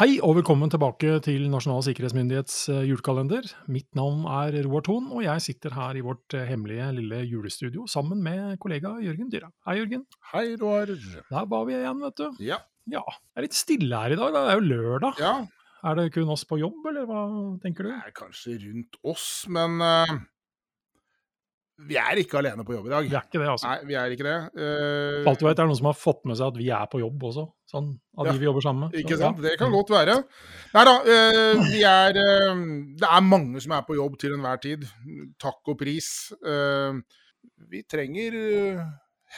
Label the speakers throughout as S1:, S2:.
S1: Hei og velkommen tilbake til Nasjonal sikkerhetsmyndighets eh, julekalender. Mitt navn er Roar Thon, og jeg sitter her i vårt eh, hemmelige lille julestudio sammen med kollega Jørgen Dyra. Hei, Jørgen.
S2: Hei, Roar.
S1: Der var vi igjen, vet du.
S2: Ja.
S1: Ja, det er litt stille her i dag. da. Det er jo lørdag.
S2: ja,
S1: Er det kun oss på jobb, eller hva tenker
S2: det
S1: du?
S2: er kanskje rundt oss, men eh, vi er ikke alene på jobb i dag.
S1: Vi er ikke det, altså.
S2: Nei, vi er ikke det. Eh,
S1: For alt du vet, er det noen som har fått med seg at vi er på jobb også, sånn, av
S2: Ja,
S1: de vi jobber sammen med. Så,
S2: Ikke sant?
S1: ja.
S2: Det kan godt være. Nei da, eh, vi er eh, Det er mange som er på jobb til enhver tid. Takk og pris. Eh, vi trenger eh,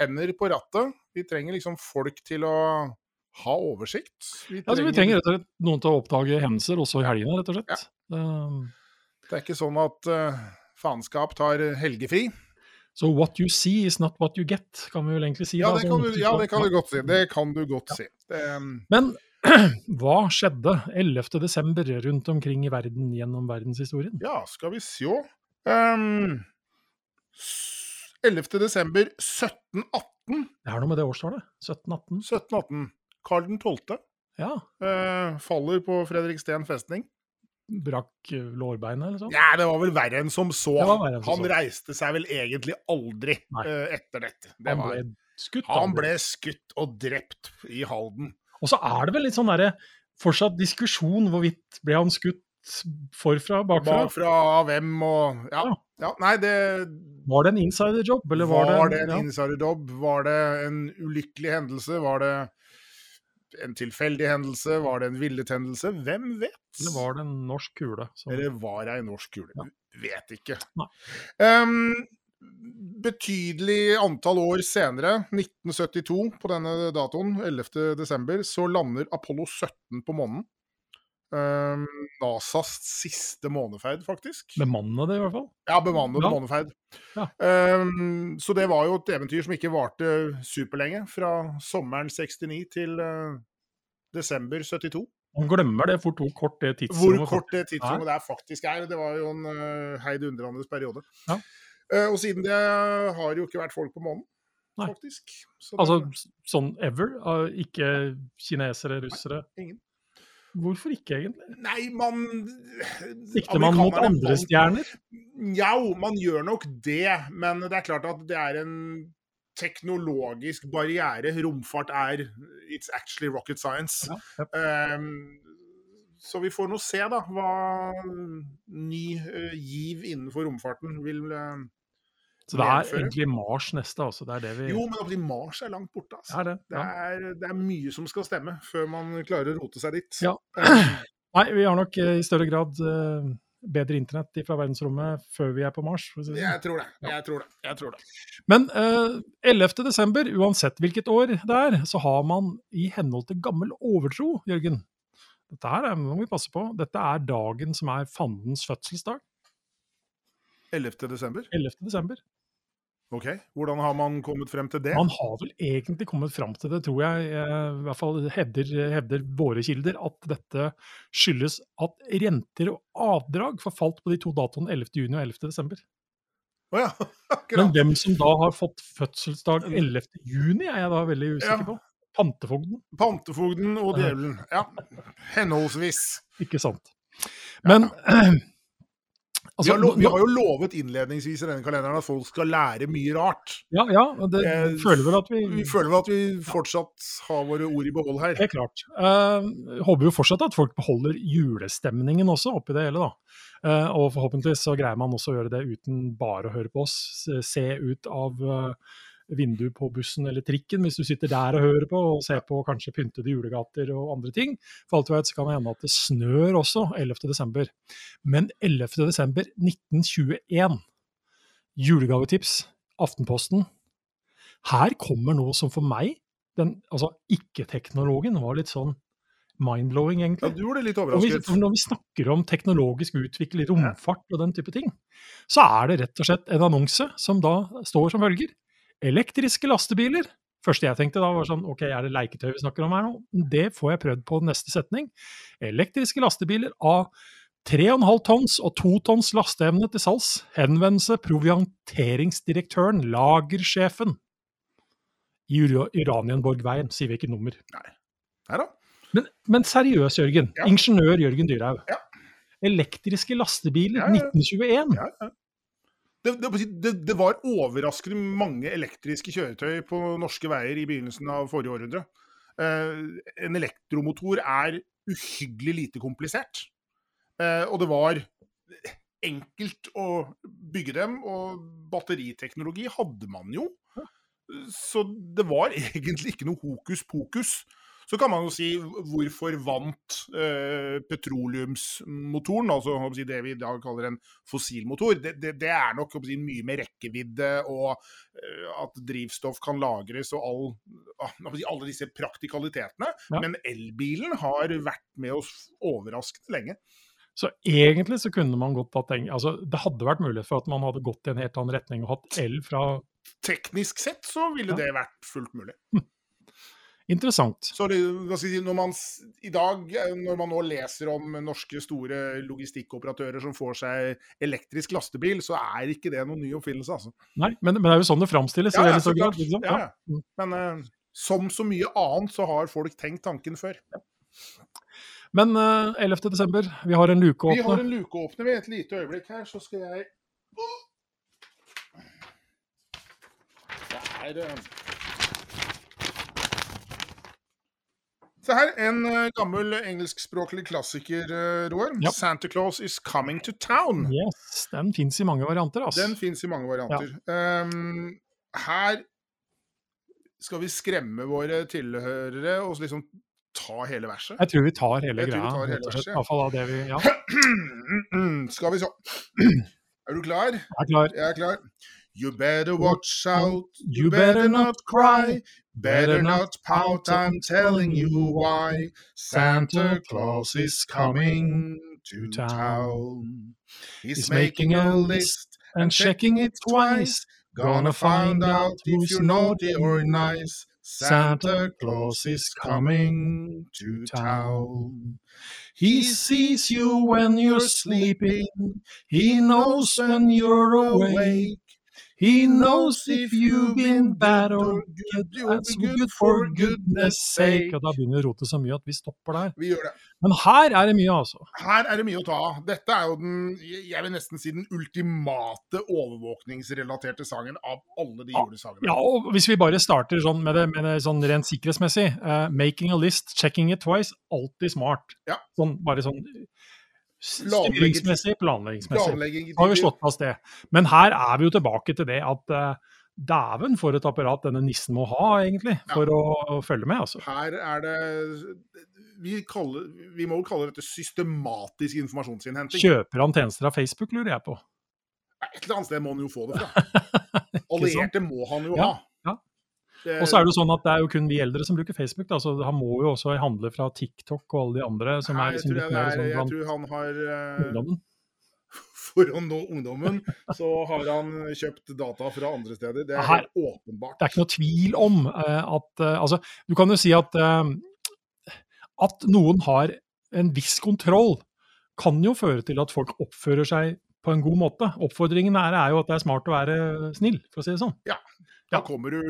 S2: hender på rattet. Vi trenger liksom folk til å ha oversikt. Vi
S1: Ja, så vi trenger rett og slett noen til å oppdage hendelser også i helgene, rett og slett. Um,
S2: Det er ikke sånn at eh, faenskap tar helgefri.
S1: So what you see is not what you get, kan vi vel egentlig si.
S2: Ja,
S1: da,
S2: det
S1: sånn
S2: kan du,
S1: type-
S2: ja, det kan du godt si. Det kan du godt si. Det, um,
S1: Men hva skjedde 11. desember rundt omkring i verden gjennom verdenshistorien?
S2: ja, skal vi sjå um, s- 11. desember 1718.
S1: Det er noe med det årstallet. 1718.
S2: 1718. Karl 12.
S1: Ja.
S2: eh, faller på Fredriksten festning.
S1: Brakk eh, lårbeinet eller sånn.
S2: Ja, det var vel verre enn som så.
S1: Det var verre enn som
S2: Han
S1: så.
S2: reiste seg vel egentlig aldri
S1: Nei.
S2: eh, etter dette. Det
S1: Han
S2: var,
S1: ble skutt.
S2: han
S1: da.
S2: ble skutt og drept i Halden.
S1: Og så er det vel litt sånn derre fortsatt diskusjon hvorvidt ble han skutt forfra, bakfra.
S2: Bakfra av hvem og Ja.
S1: Ja.
S2: ja nei, det,
S1: Var det en insiderjobb, eller
S2: var,
S1: var,
S2: det en
S1: ja.
S2: insiderjobb? Var det en ulykkelig hendelse? Var det en tilfeldig hendelse? Var det en villet hendelse? Hvem vet?
S1: Eller var det en norsk kule? som-
S2: Eller var det ei norsk kule?
S1: Ja.
S2: Vet ikke.
S1: Nei.
S2: Ehm, betydelig antall år senere, 1972 på denne datoen, 11. desember, så lander Apollo 17 på månen. Ehm, NASAs siste måneferd, faktisk.
S1: Bemannede, det, i hvert fall.
S2: Ja, bemannet
S1: Ja.
S2: måneferd.
S1: Ja.
S2: Ehm, så det var jo et eventyr som ikke varte superlenge. Fra sommeren 69 til eh, desember 72.
S1: Man glemmer det fort hvor kort det tidsrommet
S2: Hvor kort det
S1: Ja.
S2: tidsrommet der faktisk er. Det var jo en uh, heidundrende periode.
S1: Ja.
S2: Eh, og siden det har jo ikke vært folk på månen,
S1: Nei.
S2: faktisk. Så
S1: Altså
S2: det,
S1: s- sånn ever? av Ikke kinesere, russere?
S2: ingen.
S1: Hvorfor ikke, egentlig?
S2: Nei, man eh,
S1: Sikter man mot
S2: Amerikanerne
S1: andre
S2: vant-
S1: stjerner?
S2: Jau, man gjør nok det, men det er klart at det er en teknologisk barriere. Romfart er It's actually rocket science.
S1: Ja, ja.
S2: Ehm, så vi får nå se, da, hva ny eh, giv innenfor romfarten vil eh,
S1: Så det er
S2: Nedføre.
S1: egentlig Mars neste, altså. Det er det vi
S2: Jo, men oppi Mars er langt borte,
S1: Det
S2: altså.
S1: er det.
S2: Det
S1: Ja.
S2: er, det er mye som skal stemme før man klarer å rote seg dit.
S1: Ja.
S2: Ehm,
S1: Nei, vi har nok eh, i større grad eh, bedre internett fra verdensrommet før vi er på Mars. For å si det. sånn.
S2: jeg tror det. Jeg tror det. Jeg tror det.
S1: Men eh, 11. desember, uansett hvilket år det er, så har man i henhold til gammel overtro, Jørgen Dette her er, må vi passe på. Dette er dagen som er fandens fødselsdag.
S2: 11. desember.
S1: 11. desember.
S2: Ok, hvordan har man kommet frem til det?
S1: Man har vel egentlig kommet fram til det, tror jeg. eh, I hvert fall hevder, hevder våre kilder at dette skyldes at renter og avdrag forfalt på de to datoene 11. juni og 11. desember.
S2: Å ja, akkurat.
S1: Men hvem som da har fått fødselsdag 11. juni, er jeg da veldig usikker
S2: Mm. Ja.
S1: på. Pantefogden,
S2: Pantefogden og
S1: Ja.
S2: djevelen. Ja, henholdsvis.
S1: ikke sant. Men
S2: Vi
S1: altså,
S2: har, lo vi har jo lovet innledningsvis i denne kalenderen at folk skal lære mye rart.
S1: Ja, ja, det
S2: Jeg
S1: føler vel at vi
S2: Eh, Vi føler vel at vi fortsatt har våre ord i behold her.
S1: Det er klart. Eh, håper jo fortsatt at folk beholder julestemningen også oppi det hele, da. Eh, og forhåpentlig så greier man også å gjøre det uten bare å høre på oss. Se- Se ut av eh, vinduet på bussen eller trikken hvis du sitter der og hører på, og ser på kanskje pyntede julegater og andre ting. For alt du vet så kan det hende at det snør også 11. desember. Men 11. desember 1921, julegavetips, Aftenposten. Her kommer noe som for meg den altså, ikke-teknologen var litt sånn mind-blowing,
S2: Ja,
S1: egentlig.
S2: du ble litt
S1: Og vi,
S2: overrasket.
S1: for når vi snakker om teknologisk utvikling, romfart og den type ting, så er det rett og slett en annonse som da står som følger Elektriske lastebiler. Første jeg tenkte da var sånn, ok, er det leiketøy vi snakker om her nå? Det får jeg prøvd på neste setning. Elektriske lastebiler av 3,5 tonns og 2 tonns lasteevne til salgs. Henvendelse provianteringsdirektøren, lagersjefen. I Ura- Uranienborgveien, sier vi ikke nummer.
S2: Her da.
S1: Men, men seriøs, Jørgen.
S2: Ja.
S1: Ingeniør Jørgen Dyrhaug.
S2: Ja.
S1: Elektriske lastebiler
S2: Ja, ja.
S1: 1921.
S2: Ja, ja. Det, det, det, det var overraskende mange elektriske kjøretøy på norske veier i begynnelsen av forrige århundre. Eh, en elektromotor er uhyggelig lite komplisert. Eh, og det var enkelt å bygge dem, og batteriteknologi hadde man jo. Så det var egentlig ikke noe hokus pokus. Så kan man jo si hvorfor vant eh, petroleumsmotoren, altså hva skal jeg si, det vi i dag kaller en fossilmotor. Det, det, det er nok hva skal jeg si, mye med rekkevidde og eh, at drivstoff kan lagres og all, ah, hva skal jeg si, alle disse praktikalitetene.
S1: Ja.
S2: Men elbilen har vært med oss overraskende lenge.
S1: Så egentlig så kunne man godt ha tenkt altså, Det hadde vært mulighet for at man hadde gått i en helt annen retning og hatt el fra
S2: Teknisk sett så ville
S1: Ja.
S2: det vært fullt mulig.
S1: Interessant.
S2: Så det, hva skal jeg si, når man s- i dag, eh, når man nå leser om norske store logistikkoperatører som får seg elektrisk lastebil, så er ikke det noen ny oppfinnelse, altså.
S1: Nei, men, men det er jo sånn det framstilles. i
S2: Ja, ja,
S1: veldig stor
S2: så
S1: grad,
S2: klart.
S1: ikke sant?
S2: Ja,
S1: Ja. Mm.
S2: ja. Men eh, som så mye annet så har folk tenkt tanken før.
S1: Men eh, 11. desember, vi har en luke å
S2: Vi har
S1: åpne.
S2: en lukeåpner ved et lite øyeblikk her, så skal jeg Det er eh, Se her, en eh, gammel engelskspråklig klassiker, eh, Roar.
S1: Ja.
S2: Santa Claus is coming to town.
S1: Yes, den fins i mange varianter, ass.
S2: Den fins i mange varianter. Ehm, her skal vi skremme våre tilhørere og liksom ta hele verset.
S1: Jeg tror vi tar hele
S2: Jeg tror vi
S1: greia.
S2: tar hele
S1: rett og slett.
S2: verset.
S1: I hvert fall av det vi Ja,
S2: skal vi se. Er du klar?
S1: er klar.
S2: Jeg er klar. You better watch out,
S1: You better not cry.
S2: better not pout, I'm telling you why. Santa Claus is coming to town. He's making a list,
S1: And checking it twice.
S2: gonna find out if you're naughty or nice. Santa Claus is coming to town.
S1: He sees you when you're sleeping. He knows when you're awake. He knows if you've been bad or good. That's good for goodness sake. Og da begynner rotet så mye at vi stopper der.
S2: Vi gjør det.
S1: Men her er det mye, altså.
S2: Her er det mye å ta av. Dette er jo den, jeg vil nesten si den ultimate overvåkningsrelaterte sangen av alle de
S1: Ja.
S2: julesangene.
S1: Ja, og Hvis vi bare starter sånn med det, med det sånn rent sikkerhetsmessig eh, Making a list, checking it twice. Alltid smart.
S2: Ja.
S1: Sånn, bare sånn s-
S2: Planlegging-
S1: styringsmessig, planleggingsmessig.
S2: Planlegging i
S1: har vi
S2: tider.
S1: slått fast det. Men her er vi jo tilbake til det at eh, dæven for et apparat denne nissen må ha, egentlig, for å følge med. altså.
S2: Her er det vi, kaller, vi må jo kalle dette systematisk informasjonsinnhenting.
S1: Kjøper han tjenester av Facebook, lurer jeg på.
S2: Et eller annet sted må han jo få det fra. Allierte må han jo
S1: Ja,
S2: ha.
S1: ja.
S2: Det-
S1: Og så er det jo sånn at det er jo kun vi eldre som bruker Facebook, da, så han må jo også handle fra TikTok og alle de andre som
S2: Nei,
S1: er liksom
S2: jeg,
S1: litt
S2: tror
S1: mer
S2: jeg, det
S1: sånn
S2: er, jeg
S1: blant
S2: tror han har eh,
S1: ungdommen.
S2: For å nå ungdommen, så har han kjøpt data fra andre steder. Det er
S1: Her-
S2: helt åpenbart.
S1: Det er ikke noe tvil om eh, at eh, Altså, du kan jo si at eh, at noen har en viss kontroll, kan jo føre til at folk oppfører seg på en god måte. Oppfordringen er, er jo at det er smart å være snill, for å si det sånn.
S2: Da
S1: Ja.
S2: kommer du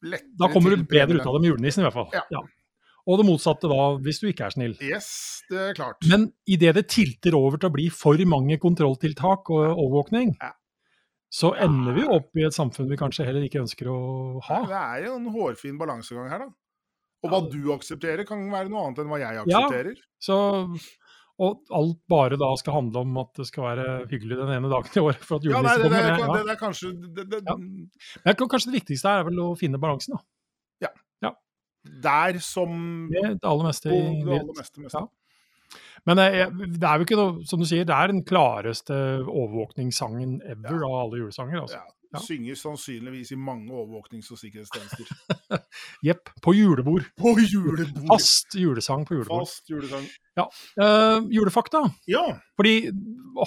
S2: lettere
S1: Da kommer du
S2: til
S1: bedre
S2: premiene.
S1: ut av det med julenissen, i hvert fall.
S2: Ja.
S1: Og det motsatte da, hvis du ikke er snill.
S2: Yes, det er klart.
S1: Men idet det tilter over til å bli for mange kontrolltiltak og overvåkning,
S2: Ja.
S1: så ender vi jo opp i et samfunn vi kanskje heller ikke ønsker å ha.
S2: Det er jo en hårfin balansegang her, da. Og hva du aksepterer, kan være noe annet enn hva jeg
S1: Ja.
S2: aksepterer.
S1: Så, og alt bare da skal handle om at det skal være hyggelig den ene dagen i året for at
S2: Ja, nei,
S1: julenissen
S2: det, det,
S1: kommer.
S2: er-
S1: ja.
S2: det, det er kanskje det, det,
S1: Ja. Men jeg tror kanskje det viktigste her er vel å finne balansen, da.
S2: Der som på
S1: Det er det aller meste
S2: det
S1: i
S2: aller
S1: livet.
S2: meste. meste.
S1: Ja. Men eh, jeg, det er jo ikke noe, som du sier, det er den klareste overvåkningssangen ever av alle julesanger. altså.
S2: Ja.
S1: Ja.
S2: Synger sannsynligvis i mange overvåknings- og sikkerhetstjenester.
S1: Jepp. På julebord.
S2: På julebord!
S1: Fast julesang på julebord.
S2: Fast julesang.
S1: Eh, julefakta.
S2: Ja,
S1: Fordi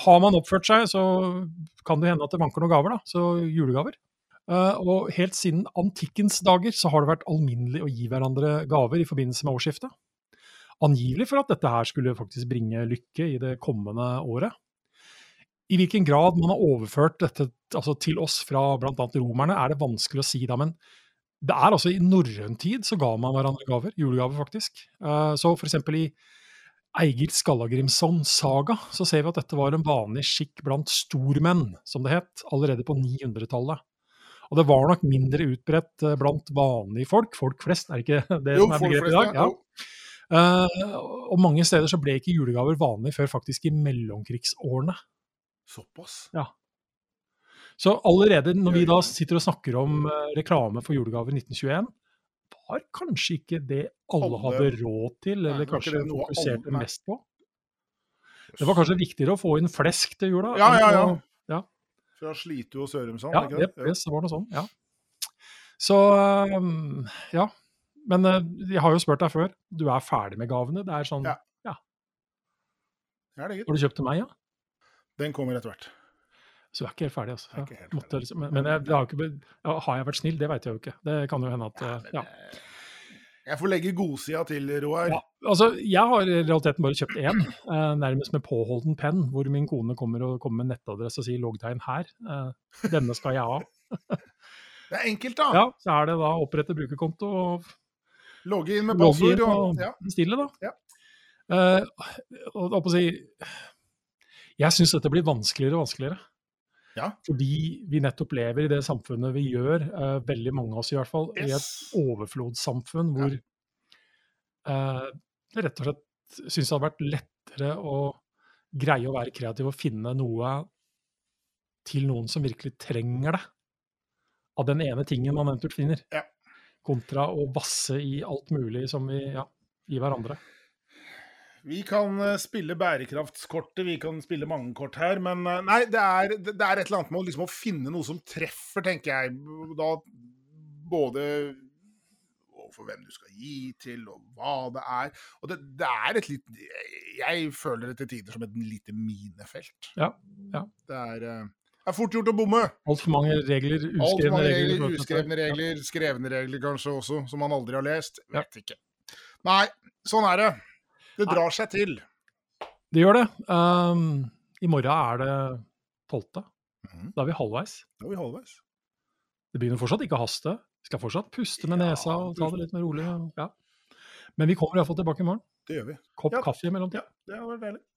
S1: har man oppført seg, så kan det hende at det vanker noen gaver, da. Så julegaver. Eh, og helt siden antikkens dager så har det vært alminnelig å gi hverandre gaver i forbindelse med årsskiftet. Angivelig for at dette her skulle faktisk bringe lykke i det kommende året. I hvilken grad man har overført dette altså, til oss fra bl.a. romerne, er det vanskelig å si, da, men det er altså I norrøn tid så ga man hverandre gaver, julegaver, faktisk. Eh, Så f.eks. i Eigil Skallagrimson-saga så ser vi at dette var en vanlig skikk blant stormenn, som det het, allerede på 900-tallet. Og det var nok mindre utbredt eh, blant vanlige folk. Folk flest, er ikke det som er
S2: folk
S1: begrepet i
S2: flest,
S1: dag? Ja.
S2: jo.
S1: Eh, og mange steder så ble ikke julegaver vanlig før faktisk i mellomkrigsårene.
S2: Såpass.
S1: Så allerede når vi da
S2: Gjør det.
S1: sitter og snakker om eh, reklame for julegaver i 1921, var kanskje ikke det alle
S2: Alle-
S1: hadde råd til,
S2: Nei,
S1: eller
S2: det var ikke
S1: kanskje
S2: det noe alle-
S1: fokuserte
S2: nei.
S1: mest på. Det var kanskje viktigere å få inn flesk til jula.
S2: Ja,
S1: enn
S2: ja, ja.
S1: å- ja.
S2: Fra Slitu og Sørumsand,
S1: Ja,
S2: ikke
S1: det,
S2: det?
S1: det var noe sånn, ja. Så um, ja. Men eh, jeg har jo spurt deg før. Du er ferdig med gavene. Det er sånn
S2: Ja. Ja, det er gitt.
S1: Har du kjøpt til meg, ja?
S2: Den kommer etter hvert.
S1: Så du er ikke helt ferdig, altså.
S2: Jeg er ikke
S1: Ja.
S2: helt
S1: Måtte, liksom, men jeg, det har, jo ikke, be- ja, har jeg vært snill? Det veit jeg jo ikke. Det kan jo hende at eh, ja.
S2: Jeg får legge godsida til, Roar.
S1: Ja, altså, jeg har i realiteten bare kjøpt én, eh, nærmest med påholden penn, hvor min kone kommer og kommer med nettadresse og sier 'loggtegn her'. Eh, denne skal jeg ha.
S2: Det er enkelt, da.
S1: Ja, Så er det da å opprette brukerkonto og
S2: Logge inn med
S1: logge
S2: passord
S1: inn
S2: og
S1: og
S2: ja.
S1: bestille, da.
S2: Ja.
S1: Eh, og holdt på å si Jeg syns dette blir vanskeligere og vanskeligere.
S2: Ja.
S1: Fordi vi nettopp lever i det samfunnet vi gjør, eh, veldig mange av oss i hvert fall, i et
S2: Yes.
S1: overflodssamfunn hvor eh, det rett og slett syns det hadde vært lettere å greie å være kreativ og finne noe til noen som virkelig trenger det, av den ene tingen man eventuelt finner,
S2: Ja.
S1: kontra å vasse i alt mulig som vi ja, gir hverandre.
S2: Vi kan eh, spille bærekraftskortet, vi kan spille mange kort her, men eh, nei, det er, det det er et eller annet med å liksom å finne noe som treffer, tenker jeg. Da både overfor hvem du skal gi til, og hva det er. Og det, det er et litt Jeg føler det til tider som et lite minefelt.
S1: Ja, ja.
S2: Det er, eh, det er fort gjort å bomme.
S1: Altfor mange regler,
S2: Alt for
S1: uskrevne
S2: mange
S1: regler. i forhold
S2: regler,
S1: til dette.
S2: uskrevne regler, skrevne regler kanskje også, som man aldri har lest.
S1: Ja.
S2: Vet ikke. Nei, sånn er det. Det
S1: Nei.
S2: drar seg til.
S1: Det gjør det. Ehm, I morgen er det 12.
S2: Mhm.
S1: Da er vi halvveis.
S2: Da er vi halvveis.
S1: Det begynner fortsatt ikke å haste. Vi skal fortsatt puste med
S2: Ja,
S1: nesa og ta det litt mer rolig. Ja. Men vi kommer iallfall tilbake i morgen.
S2: Det gjør vi.
S1: Kopp
S2: Ja.
S1: kaffe i mellomtida.
S2: Det har vært deilig.